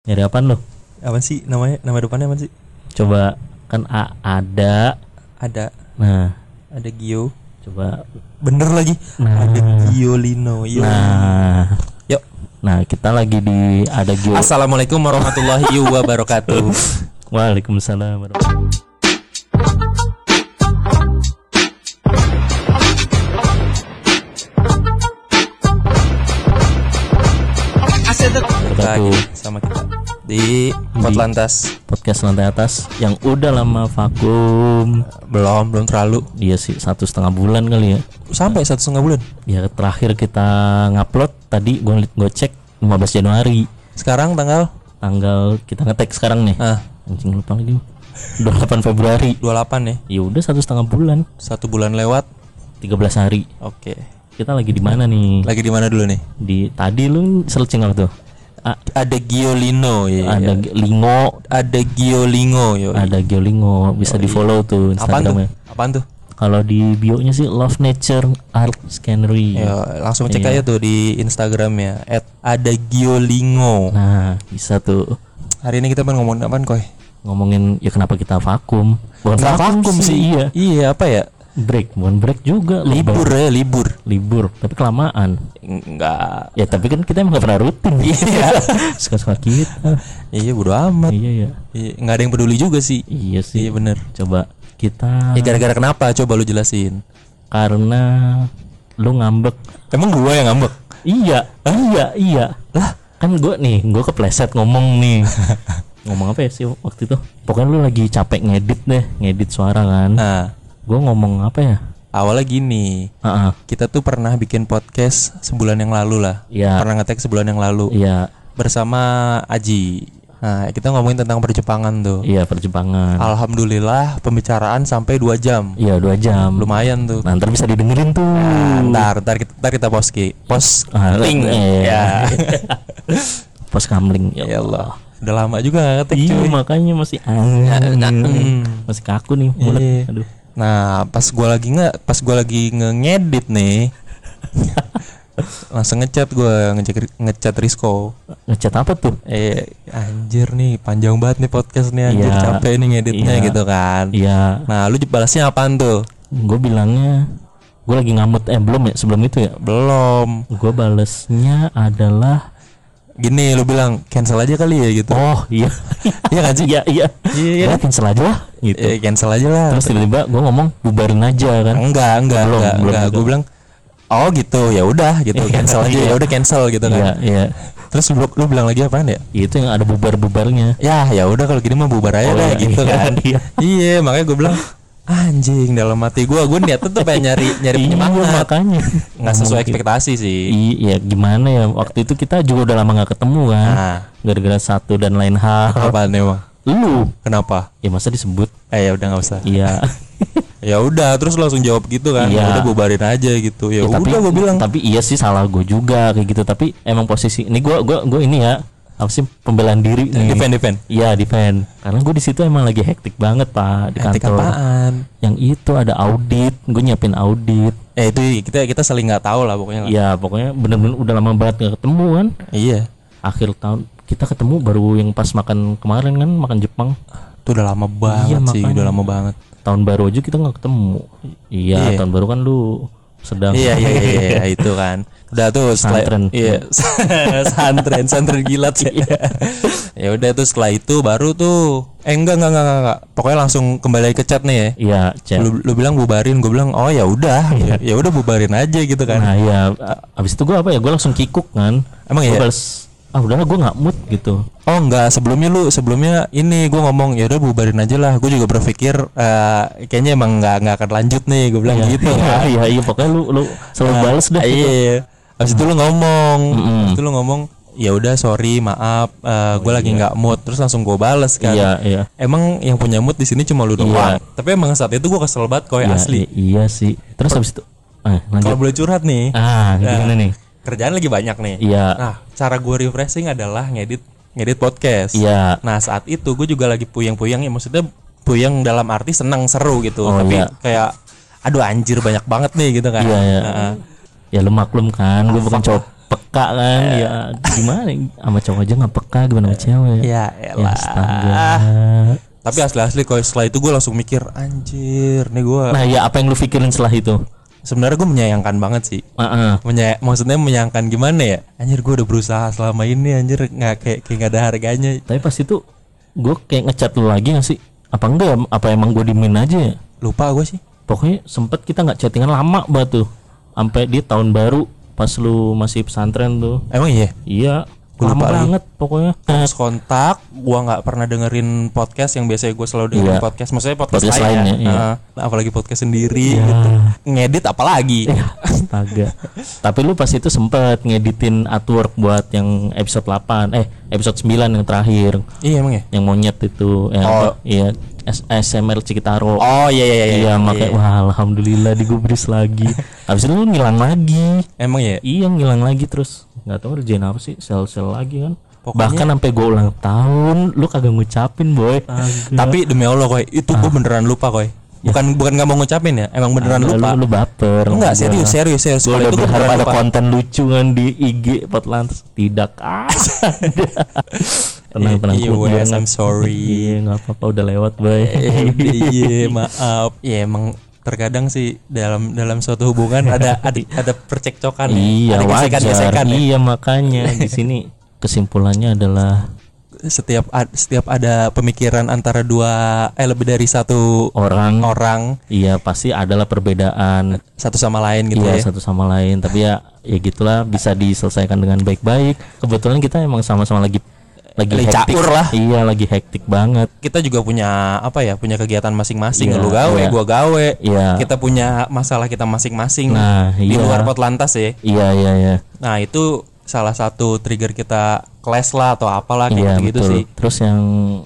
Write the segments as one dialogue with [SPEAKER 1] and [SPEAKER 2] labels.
[SPEAKER 1] Nyari apaan lo?
[SPEAKER 2] apa sih namanya nama depannya apa sih
[SPEAKER 1] Coba kan A ada.
[SPEAKER 2] ada
[SPEAKER 1] Nah,
[SPEAKER 2] ada Gio
[SPEAKER 1] coba
[SPEAKER 2] bener lagi
[SPEAKER 1] Nah.
[SPEAKER 2] ada iya. Giolino yo
[SPEAKER 1] nah.
[SPEAKER 2] Yuk.
[SPEAKER 1] Nah, kita lagi di ada Gio.
[SPEAKER 2] Assalamualaikum warahmatullahi wabarakatuh
[SPEAKER 1] Waalaikumsalam.
[SPEAKER 2] lagi
[SPEAKER 1] Wabarakatuh.
[SPEAKER 2] sama kita di Potlantas
[SPEAKER 1] Podcast lantai atas yang udah lama vakum.
[SPEAKER 2] belum belum terlalu
[SPEAKER 1] Dia sih satu setengah bulan kali ya.
[SPEAKER 2] sampai satu setengah bulan
[SPEAKER 1] Ya terakhir kita ngupload tadi gue gue cek 15 Januari
[SPEAKER 2] sekarang tanggal
[SPEAKER 1] tanggal kita ngetek sekarang nih.
[SPEAKER 2] ah
[SPEAKER 1] Anjing lupa lagi. 28 Februari.
[SPEAKER 2] 28 ya
[SPEAKER 1] Ya udah satu setengah bulan,
[SPEAKER 2] satu bulan lewat
[SPEAKER 1] 13 hari.
[SPEAKER 2] oke
[SPEAKER 1] Kita lagi di mana nih?
[SPEAKER 2] lagi di mana dulu nih
[SPEAKER 1] Di tadi lu searching apa tuh? A-
[SPEAKER 2] ada Giolino ya
[SPEAKER 1] ada G- Lingo,
[SPEAKER 2] ada Giolingo yo
[SPEAKER 1] ada Geolingo, bisa di follow Oh, iya. tuh Ah,
[SPEAKER 2] apaan tuh
[SPEAKER 1] Instagramnya.
[SPEAKER 2] apaan tuh
[SPEAKER 1] Kalau di bio-nya sih Love Nature Art Scenery.
[SPEAKER 2] Ya, langsung cek
[SPEAKER 1] Iya.
[SPEAKER 2] aja tuh di Instagram ya ada Giolingo
[SPEAKER 1] Nah, bisa tuh
[SPEAKER 2] hari ini kita pengen ngomongin apaan koy
[SPEAKER 1] ngomongin ya kenapa kita vakum. Bukan
[SPEAKER 2] Nggak
[SPEAKER 1] iya.
[SPEAKER 2] iya apa ya
[SPEAKER 1] Break, bukan break juga, libur,
[SPEAKER 2] libur ya libur
[SPEAKER 1] libur, tapi kelamaan.
[SPEAKER 2] enggak
[SPEAKER 1] Ya tapi kan kita emang gak pernah rutin. Iya. Suka-suka kita.
[SPEAKER 2] iya bodo amat
[SPEAKER 1] Iya ya.
[SPEAKER 2] Iya, nggak ada yang peduli juga sih
[SPEAKER 1] Iya sih.
[SPEAKER 2] iya bener
[SPEAKER 1] Coba kita
[SPEAKER 2] ya gara-gara kenapa coba lu jelasin
[SPEAKER 1] karena lu ngambek.
[SPEAKER 2] emang gua yang ngambek
[SPEAKER 1] Iya, iya, iya. Lah, kan gue nih, gue kepleset ngomong nih. ngomong apa ya sih waktu itu? Pokoknya lu lagi capek ngedit deh, ngedit suara kan.
[SPEAKER 2] nah
[SPEAKER 1] Gue ngomong apa ya?
[SPEAKER 2] awalnya gini
[SPEAKER 1] Heeh.
[SPEAKER 2] kita tuh pernah bikin podcast sebulan yang lalu lah
[SPEAKER 1] Iya.
[SPEAKER 2] pernah ngetek sebulan yang lalu
[SPEAKER 1] Iya,
[SPEAKER 2] bersama Aji nah kita ngomongin tentang perjepangan tuh
[SPEAKER 1] iya perjepangan.
[SPEAKER 2] Alhamdulillah pembicaraan sampai dua jam
[SPEAKER 1] Iya, dua jam.
[SPEAKER 2] lumayan tuh
[SPEAKER 1] Nah, ntar bisa didengerin tuh.
[SPEAKER 2] Nah, ntar ntar kita, ntar kita poski pos
[SPEAKER 1] Ah,
[SPEAKER 2] link
[SPEAKER 1] iya.
[SPEAKER 2] ya
[SPEAKER 1] Pos kamling.
[SPEAKER 2] ya Allah udah lama juga nggak ngetik
[SPEAKER 1] Iya,
[SPEAKER 2] cuy.
[SPEAKER 1] makanya masih anjing. Masih kaku nih mulut.
[SPEAKER 2] Iya.
[SPEAKER 1] Aduh.
[SPEAKER 2] nah pas gua lagi nggak pas gua lagi ngedit nih langsung ngechat gua ngechat ngechat Risco
[SPEAKER 1] Ngecat apa tuh?
[SPEAKER 2] eh anjir nih panjang banget nih podcast nih anjir
[SPEAKER 1] Iya.
[SPEAKER 2] capek nih ngeditnya
[SPEAKER 1] Iya.
[SPEAKER 2] gitu kan
[SPEAKER 1] Iya,
[SPEAKER 2] nah lu balasnya apaan tuh
[SPEAKER 1] gue bilangnya gue lagi ngamut eh belum ya sebelum itu ya
[SPEAKER 2] belum
[SPEAKER 1] gue balesnya adalah
[SPEAKER 2] gini lu bilang cancel aja kali ya gitu
[SPEAKER 1] oh iya
[SPEAKER 2] Iya kan sih?
[SPEAKER 1] iya iya
[SPEAKER 2] Iya, iya.
[SPEAKER 1] Gua cancel aja lah gitu
[SPEAKER 2] Eh, cancel aja lah
[SPEAKER 1] terus tiba-tiba gue ngomong bubarin aja kan
[SPEAKER 2] enggak enggak
[SPEAKER 1] Belum,
[SPEAKER 2] enggak,
[SPEAKER 1] belum
[SPEAKER 2] enggak.
[SPEAKER 1] gitu.
[SPEAKER 2] gue bilang oh gitu ya udah gitu
[SPEAKER 1] Iya,
[SPEAKER 2] cancel aja
[SPEAKER 1] iya.
[SPEAKER 2] ya udah cancel gitu kan
[SPEAKER 1] iya iya
[SPEAKER 2] terus lu, lu bilang lagi apaan ya
[SPEAKER 1] itu yang ada bubar-bubarnya
[SPEAKER 2] ya ya udah kalau gini mah bubar
[SPEAKER 1] Oh,
[SPEAKER 2] aja
[SPEAKER 1] iya,
[SPEAKER 2] deh gitu
[SPEAKER 1] iya,
[SPEAKER 2] kan
[SPEAKER 1] iya.
[SPEAKER 2] iya makanya gue bilang anjing dalam hati gue gue niatnya tuh pengen nyari nyari
[SPEAKER 1] Iya,
[SPEAKER 2] penyemangat
[SPEAKER 1] makanya Gitu.
[SPEAKER 2] nggak sesuai ekspektasi sih
[SPEAKER 1] iya gimana ya waktu itu kita juga udah lama nggak ketemu kan
[SPEAKER 2] nah
[SPEAKER 1] gara-gara satu dan lain hal
[SPEAKER 2] apaan emang
[SPEAKER 1] lu
[SPEAKER 2] kenapa
[SPEAKER 1] ya masa disebut
[SPEAKER 2] eh ya udah nggak usah
[SPEAKER 1] iya
[SPEAKER 2] ya udah terus langsung jawab gitu kan
[SPEAKER 1] Iya.
[SPEAKER 2] udah bubarin aja gitu ya,
[SPEAKER 1] Ya, tapi
[SPEAKER 2] udah gue bilang
[SPEAKER 1] tapi iya sih salah gue juga kayak gitu tapi emang posisi ini gue gua gua ini ya apa sih pembelaan diri nih
[SPEAKER 2] defend defend
[SPEAKER 1] iya defend karena gue di situ emang lagi hektik banget pak di
[SPEAKER 2] Hektik
[SPEAKER 1] kantor
[SPEAKER 2] apaan
[SPEAKER 1] yang itu ada audit gue nyiapin audit
[SPEAKER 2] eh itu kita kita saling nggak tahu lah pokoknya lah.
[SPEAKER 1] ya pokoknya bener-bener udah lama banget gak ketemu kan
[SPEAKER 2] iya
[SPEAKER 1] akhir tahun kita ketemu baru yang pas makan kemarin kan makan Jepang
[SPEAKER 2] Itu udah lama banget sih,
[SPEAKER 1] Iya, makanya.
[SPEAKER 2] udah lama banget.
[SPEAKER 1] tahun baru aja kita nggak ketemu iya
[SPEAKER 2] Iya.
[SPEAKER 1] tahun baru kan lu sedang
[SPEAKER 2] Iya iya iya, iya, itu kan. Udah tuh setelah
[SPEAKER 1] Santren.
[SPEAKER 2] iya santren santren gilat sih. ya udah tuh setelah itu baru tuh eh enggak enggak enggak enggak, enggak. Pokoknya langsung kembali ke chat nih ya.
[SPEAKER 1] iya chat
[SPEAKER 2] Lu, lu bilang bubarin, gue bilang oh ya udah, ya ya udah bubarin aja gitu kan.
[SPEAKER 1] Nah iya, a- abis itu gua apa ya? Gua langsung kikuk kan.
[SPEAKER 2] Emang
[SPEAKER 1] Gua
[SPEAKER 2] iya?
[SPEAKER 1] bales, ah udahlah gua nggak mood gitu.
[SPEAKER 2] Oh enggak, sebelumnya lu sebelumnya ini gue ngomong ya udah bubarin aja lah. Gue juga berpikir eh, kayaknya emang enggak enggak akan lanjut nih, gue bilang gitu.
[SPEAKER 1] Iya iya, iya pokoknya lu lu selalu bales dah.
[SPEAKER 2] Iya. iya. Abis itu lu ngomong,
[SPEAKER 1] Nah, Mm-mm. Oh,
[SPEAKER 2] abis itu lu ngomong, ya udah sorry maaf, gue lagi nggak mood, terus langsung gue bales kan.
[SPEAKER 1] Iya iya.
[SPEAKER 2] Emang yang punya mood di sini cuma lu doang. Tapi emang saat itu gue kesel banget koy
[SPEAKER 1] Iya,
[SPEAKER 2] asli.
[SPEAKER 1] i- Iya, sih. Terus abis itu eh lanjut.
[SPEAKER 2] Kalau Iya. boleh curhat nih,
[SPEAKER 1] Ah, gimana nih?
[SPEAKER 2] kerjaan lagi banyak nih.
[SPEAKER 1] Iya.
[SPEAKER 2] Nah, cara gue refreshing adalah ngedit ngedit podcast.
[SPEAKER 1] Iya.
[SPEAKER 2] Nah saat itu gue juga lagi puyeng-puyeng ya maksudnya puyeng dalam arti senang seru gitu.
[SPEAKER 1] Oh,
[SPEAKER 2] Tapi
[SPEAKER 1] iya.
[SPEAKER 2] kayak aduh anjir banyak banget nih gitu kan.
[SPEAKER 1] Iya iya.
[SPEAKER 2] Nah,
[SPEAKER 1] Ya lu maklum kan, gua bukan cowok peka kan
[SPEAKER 2] Iya.
[SPEAKER 1] ya gimana sama cowok aja nggak peka gimana sama cewek
[SPEAKER 2] Ya
[SPEAKER 1] ya
[SPEAKER 2] elah.
[SPEAKER 1] astaga
[SPEAKER 2] Tapi asli-asli kalau setelah itu gue langsung mikir anjir nih gue
[SPEAKER 1] nah ya apa yang lu pikirin setelah itu
[SPEAKER 2] sebenarnya gue menyayangkan banget sih.
[SPEAKER 1] Heeh.
[SPEAKER 2] Menya maksudnya menyayangkan gimana ya? Anjir gue udah berusaha selama ini anjir nggak kayak kayak nggak ada harganya.
[SPEAKER 1] tapi pas itu gue kayak ngechat lu lagi nggak sih apa enggak ya? apa emang gue dimin aja ya
[SPEAKER 2] Lupa gue sih.
[SPEAKER 1] pokoknya sempet kita nggak chattingan lama banget tuh sampai di tahun baru pas lu masih pesantren tuh
[SPEAKER 2] Emang iya.
[SPEAKER 1] iya lama
[SPEAKER 2] Gua lupa lagi.
[SPEAKER 1] banget pokoknya
[SPEAKER 2] Terus kontak, gua nggak pernah dengerin podcast yang biasanya gue selalu
[SPEAKER 1] Iya.
[SPEAKER 2] dengerin podcast. Maksudnya podcast,
[SPEAKER 1] Podcast
[SPEAKER 2] lain,
[SPEAKER 1] lain
[SPEAKER 2] ya.
[SPEAKER 1] ya, iya.
[SPEAKER 2] Heeh. Nah, apalagi podcast sendiri gitu. Ngedit apalagi.
[SPEAKER 1] Astaga. Tapi lu pas itu sempet ngeditin artwork buat yang episode 8 eh episode 9 yang terakhir
[SPEAKER 2] iya emang ya.
[SPEAKER 1] yang monyet itu eh, apa, iya S- SMR Cikitaro.
[SPEAKER 2] Oh iya iya iya.
[SPEAKER 1] iya,
[SPEAKER 2] iya.
[SPEAKER 1] makanya wah alhamdulillah digubris lagi. Habis itu lu ngilang lagi.
[SPEAKER 2] Emang ya.
[SPEAKER 1] Iya, ngilang lagi terus nggak tahu kerjaan apa sih, sel-sel lagi kan.
[SPEAKER 2] Pokoknya-
[SPEAKER 1] Bahkan sampai gua ulang tahun lu kagak ngucapin, boy.
[SPEAKER 2] Tapi demi Allah koi, itu gue beneran lupa koi. Bukan bukan nggak mau ngucapin ya. Emang beneran
[SPEAKER 1] Lu,
[SPEAKER 2] lupa.
[SPEAKER 1] lu baper.
[SPEAKER 2] Enggak serius serius serius.
[SPEAKER 1] Gue udah
[SPEAKER 2] Kalau itu gua
[SPEAKER 1] berharap
[SPEAKER 2] beneran
[SPEAKER 1] ada
[SPEAKER 2] lupa.
[SPEAKER 1] konten lucu kan di IG Potlantas tidak ah tenang tenang
[SPEAKER 2] Iya,
[SPEAKER 1] gua
[SPEAKER 2] Wes,
[SPEAKER 1] bilang.
[SPEAKER 2] I'm sorry.
[SPEAKER 1] iya nggak apa-apa udah lewat boy
[SPEAKER 2] Eh, Iya maaf. Ya emang terkadang sih dalam dalam suatu hubungan ada ada ada percekcokan. ya.
[SPEAKER 1] iya
[SPEAKER 2] Ada
[SPEAKER 1] wajar
[SPEAKER 2] gesekan-gesekan ya.
[SPEAKER 1] iya makanya di sini kesimpulannya adalah
[SPEAKER 2] setiap ad- setiap ada pemikiran antara dua eh lebih dari satu
[SPEAKER 1] orang
[SPEAKER 2] orang
[SPEAKER 1] iya pasti adalah perbedaan
[SPEAKER 2] satu sama lain gitu
[SPEAKER 1] Iya
[SPEAKER 2] ya.
[SPEAKER 1] satu sama lain tapi ya ya gitulah bisa diselesaikan dengan baik-baik kebetulan kita emang sama-sama lagi lagi
[SPEAKER 2] Lagi
[SPEAKER 1] hektik
[SPEAKER 2] caur lah.
[SPEAKER 1] iya lagi hektik banget
[SPEAKER 2] Kita juga punya apa ya? Punya kegiatan masing-masing.
[SPEAKER 1] Iya,
[SPEAKER 2] Lu gawe,
[SPEAKER 1] iya.
[SPEAKER 2] gua gawe.
[SPEAKER 1] iya
[SPEAKER 2] Kita punya masalah kita masing-masing
[SPEAKER 1] nah
[SPEAKER 2] di
[SPEAKER 1] iya
[SPEAKER 2] luar pot lantas ya.
[SPEAKER 1] iya iya iya
[SPEAKER 2] Nah, itu salah satu trigger kita clash lah atau apalah
[SPEAKER 1] Iya
[SPEAKER 2] kayak gitu
[SPEAKER 1] betul.
[SPEAKER 2] sih.
[SPEAKER 1] Terus yang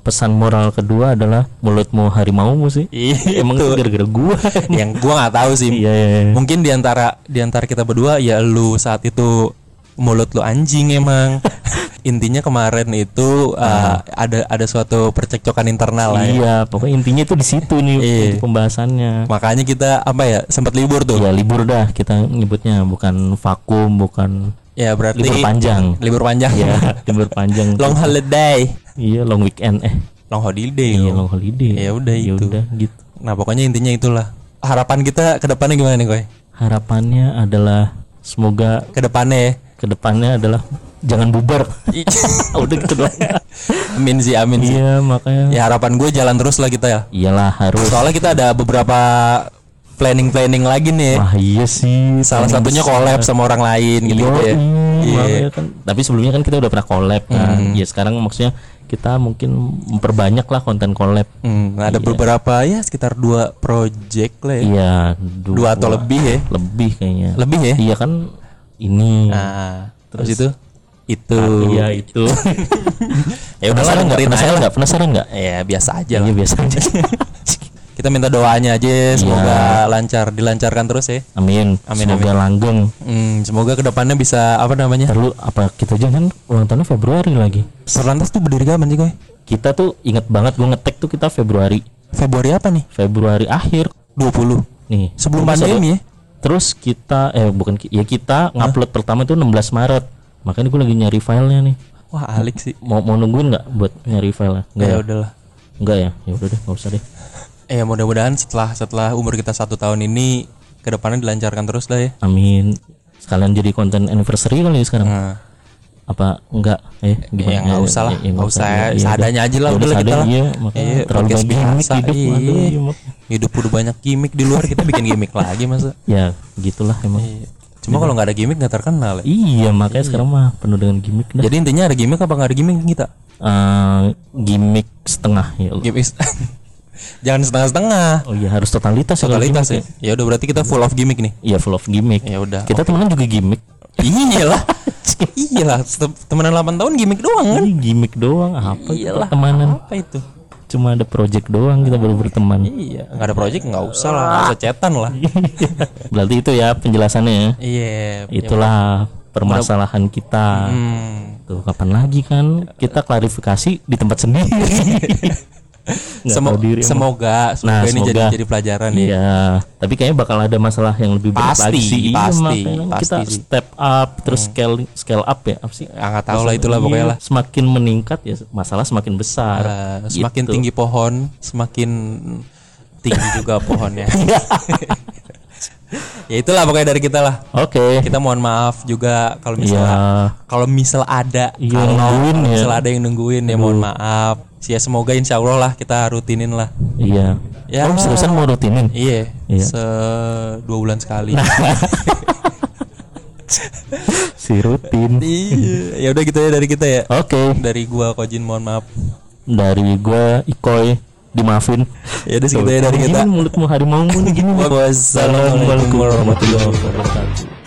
[SPEAKER 1] pesan moral kedua adalah mulutmu harimaumu sih.
[SPEAKER 2] Iya,
[SPEAKER 1] Emang itu gara-gara gua.
[SPEAKER 2] yang gua nggak tahu sih.
[SPEAKER 1] Iya iya. iya.
[SPEAKER 2] Mungkin diantara diantara kita berdua ya lu saat itu mulut lu anjing emang. Intinya kemarin itu
[SPEAKER 1] Nah.
[SPEAKER 2] uh, ada ada suatu percekcokan internal lah. ya.
[SPEAKER 1] Iya, pokoknya intinya itu di situ nih
[SPEAKER 2] Iya.
[SPEAKER 1] itu pembahasannya.
[SPEAKER 2] Makanya kita apa ya sempat libur tuh.
[SPEAKER 1] Ya libur dah kita nyebutnya bukan vakum, bukan
[SPEAKER 2] Ya berarti
[SPEAKER 1] libur panjang.
[SPEAKER 2] libur panjang.
[SPEAKER 1] ya, libur panjang.
[SPEAKER 2] long holiday,
[SPEAKER 1] iya, long weekend eh.
[SPEAKER 2] long holiday.
[SPEAKER 1] Iya,
[SPEAKER 2] loh.
[SPEAKER 1] long holiday.
[SPEAKER 2] Ya udah
[SPEAKER 1] Ya
[SPEAKER 2] itu.
[SPEAKER 1] udah gitu.
[SPEAKER 2] Nah pokoknya intinya itulah. Harapan kita ke depannya gimana nih koy?
[SPEAKER 1] Harapannya adalah semoga
[SPEAKER 2] Ke depannya ya.
[SPEAKER 1] kedepannya adalah jangan bubar.
[SPEAKER 2] Iya.
[SPEAKER 1] udah gitu doang.
[SPEAKER 2] amin sih amin sih.
[SPEAKER 1] iya, makanya
[SPEAKER 2] Ya harapan gue jalan terus lah kita ya.
[SPEAKER 1] iyalah harus
[SPEAKER 2] Soalnya kita ada beberapa planning-planning lagi nih.
[SPEAKER 1] Wah iya sih.
[SPEAKER 2] Salah
[SPEAKER 1] pengen
[SPEAKER 2] satunya
[SPEAKER 1] besar.
[SPEAKER 2] collab sama orang lain gitu,
[SPEAKER 1] Yoi,
[SPEAKER 2] ya.
[SPEAKER 1] makanya kan. Tapi sebelumnya kan kita udah pernah collab kan.
[SPEAKER 2] Hmm.
[SPEAKER 1] Ya sekarang maksudnya kita mungkin memperbanyak lah konten collab.
[SPEAKER 2] Hmm, ada beberapa ya sekitar dua project lah ya.
[SPEAKER 1] Iya du-
[SPEAKER 2] Dua atau lebih ya.
[SPEAKER 1] lebih kayaknya.
[SPEAKER 2] Lebih ya.
[SPEAKER 1] Iya kan ini.
[SPEAKER 2] Nah, terus itu itu.
[SPEAKER 1] Iya itu.
[SPEAKER 2] Ya udah lah
[SPEAKER 1] penasaran nggak?
[SPEAKER 2] dengerin aja
[SPEAKER 1] Penasaran
[SPEAKER 2] lah.
[SPEAKER 1] nggak? Penasaran nggak?
[SPEAKER 2] Ya biasa aja lah.
[SPEAKER 1] Iya biasa aja.
[SPEAKER 2] Kita minta doanya aja
[SPEAKER 1] Iya.
[SPEAKER 2] semoga lancar dilancarkan terus ya.
[SPEAKER 1] Amin.
[SPEAKER 2] Amin,
[SPEAKER 1] Semoga langgeng.
[SPEAKER 2] Hmm, semoga kedepannya bisa apa namanya?
[SPEAKER 1] Terlalu apa kita jangan ulang tahunnya Februari lagi.
[SPEAKER 2] Serlantas tuh berdiri kapan sih koy?
[SPEAKER 1] Kita tuh inget banget gue ngetek tuh kita Februari
[SPEAKER 2] Februari apa nih?
[SPEAKER 1] Februari akhir
[SPEAKER 2] 20.
[SPEAKER 1] nih.
[SPEAKER 2] Sebelum
[SPEAKER 1] Terus ada-
[SPEAKER 2] pandemi ya.
[SPEAKER 1] Terus kita eh bukan ki- ya kita ngupload pertama itu 16 Maret. Makanya gue lagi nyari filenya nih.
[SPEAKER 2] Wah, alik sih.
[SPEAKER 1] Mau mau nungguin nggak buat nyari filenya? Enggak
[SPEAKER 2] Ya
[SPEAKER 1] ya?
[SPEAKER 2] udahlah.
[SPEAKER 1] Enggak ya? Ya udah deh, nggak usah deh.
[SPEAKER 2] Ya mudah-mudahan setelah setelah umur kita satu tahun ini kedepannya dilancarkan terus lah ya.
[SPEAKER 1] Amin. Sekalian jadi konten anniversary kali ya sekarang.
[SPEAKER 2] Nah,
[SPEAKER 1] Apa enggak? Eh gimana?
[SPEAKER 2] ya nggak
[SPEAKER 1] Ya,
[SPEAKER 2] usah lah,
[SPEAKER 1] ya, ya,
[SPEAKER 2] nggak usah
[SPEAKER 1] Ya, ya
[SPEAKER 2] seadanya aja lah
[SPEAKER 1] Ya
[SPEAKER 2] udah lah kita
[SPEAKER 1] seadanya,
[SPEAKER 2] lah.
[SPEAKER 1] Iya, makanya
[SPEAKER 2] Iya,
[SPEAKER 1] terlalu
[SPEAKER 2] podcast
[SPEAKER 1] banyak gimmick
[SPEAKER 2] biasa,
[SPEAKER 1] hidup.
[SPEAKER 2] iya.
[SPEAKER 1] aduh, iya, mak-
[SPEAKER 2] Hidup udah banyak gimmick di luar kita bikin gimmick lagi masa.
[SPEAKER 1] Ya gitulah emang. Iya,
[SPEAKER 2] Cuma kalau nggak ada gimmick nggak terkenal. Ya.
[SPEAKER 1] makanya sekarang mah penuh dengan gimmick dah.
[SPEAKER 2] Jadi intinya ada gimmick apa nggak ada gimmick kita?
[SPEAKER 1] Eh, gimmick setengah ya. Allah.
[SPEAKER 2] Gimmick jangan setengah-setengah.
[SPEAKER 1] Oh iya harus totalitas ya kalau
[SPEAKER 2] Totalitas ya.
[SPEAKER 1] gimmick
[SPEAKER 2] Ya udah berarti kita full of gimmick nih.
[SPEAKER 1] ya. Iya full of gimmick.
[SPEAKER 2] Ya udah.
[SPEAKER 1] Kita temenan juga gimmick.
[SPEAKER 2] Iya lah. Iya lah, Tem- temenan 8 tahun gimmick doang kan.
[SPEAKER 1] Ini gimmick doang apa itu
[SPEAKER 2] Iyalah.
[SPEAKER 1] pertemanan?
[SPEAKER 2] Apa itu?
[SPEAKER 1] Cuma ada project doang kita baru berteman.
[SPEAKER 2] Iya, nggak ada project nggak usah lah, nggak usah cetan lah.
[SPEAKER 1] Berarti itu ya penjelasannya ya.
[SPEAKER 2] Iya.
[SPEAKER 1] Itulah permasalahan kita.
[SPEAKER 2] Hmm.
[SPEAKER 1] Tuh kapan lagi kan kita klarifikasi di tempat sendiri. Nggak
[SPEAKER 2] Semo-
[SPEAKER 1] tahu diri emang.
[SPEAKER 2] semoga semoga
[SPEAKER 1] Nah,
[SPEAKER 2] ini
[SPEAKER 1] semoga.
[SPEAKER 2] jadi jadi pelajaran ya.
[SPEAKER 1] Iya, tapi kayaknya bakal ada masalah yang lebih berat
[SPEAKER 2] Pasti,
[SPEAKER 1] lagi sih. Iya,
[SPEAKER 2] pasti,
[SPEAKER 1] makanya
[SPEAKER 2] pasti
[SPEAKER 1] kita
[SPEAKER 2] sih.
[SPEAKER 1] step up terus scale scale up ya apa sih?
[SPEAKER 2] Ah, nggak tahu lah itulah
[SPEAKER 1] Iya,
[SPEAKER 2] pokoknya lah.
[SPEAKER 1] Semakin meningkat ya masalah semakin besar.
[SPEAKER 2] Eh, semakin
[SPEAKER 1] iya. Gitu.
[SPEAKER 2] tinggi pohon, semakin tinggi juga pohonnya. Ah. ya itulah pokoknya dari kita lah.
[SPEAKER 1] Oke.
[SPEAKER 2] Kita mohon maaf juga kalau
[SPEAKER 1] Iya.
[SPEAKER 2] misalnya kalau misal ada
[SPEAKER 1] Iya,
[SPEAKER 2] kalau
[SPEAKER 1] nungguin ya.
[SPEAKER 2] misal ada yang nungguin ya mohon maaf. Ya semoga insya Allah lah kita rutinin lah.
[SPEAKER 1] Iya.
[SPEAKER 2] Ya.
[SPEAKER 1] Oh, seriusan mau rutinin?
[SPEAKER 2] Iya,
[SPEAKER 1] Iya. Nah.
[SPEAKER 2] se dua bulan sekali.
[SPEAKER 1] Si rutin.
[SPEAKER 2] iya, ya udah gitu ya dari kita ya.
[SPEAKER 1] Oke.
[SPEAKER 2] Dari gua Kojin mohon maaf.
[SPEAKER 1] Dari gua Ikoy dimaafin.
[SPEAKER 2] Ya udah segitu ya dari
[SPEAKER 1] Gini
[SPEAKER 2] kita.
[SPEAKER 1] mulutmu harimau mulu gini.
[SPEAKER 2] Wassalamualaikum warahmatullahi wabarakatuh.
[SPEAKER 1] wabarakatuh.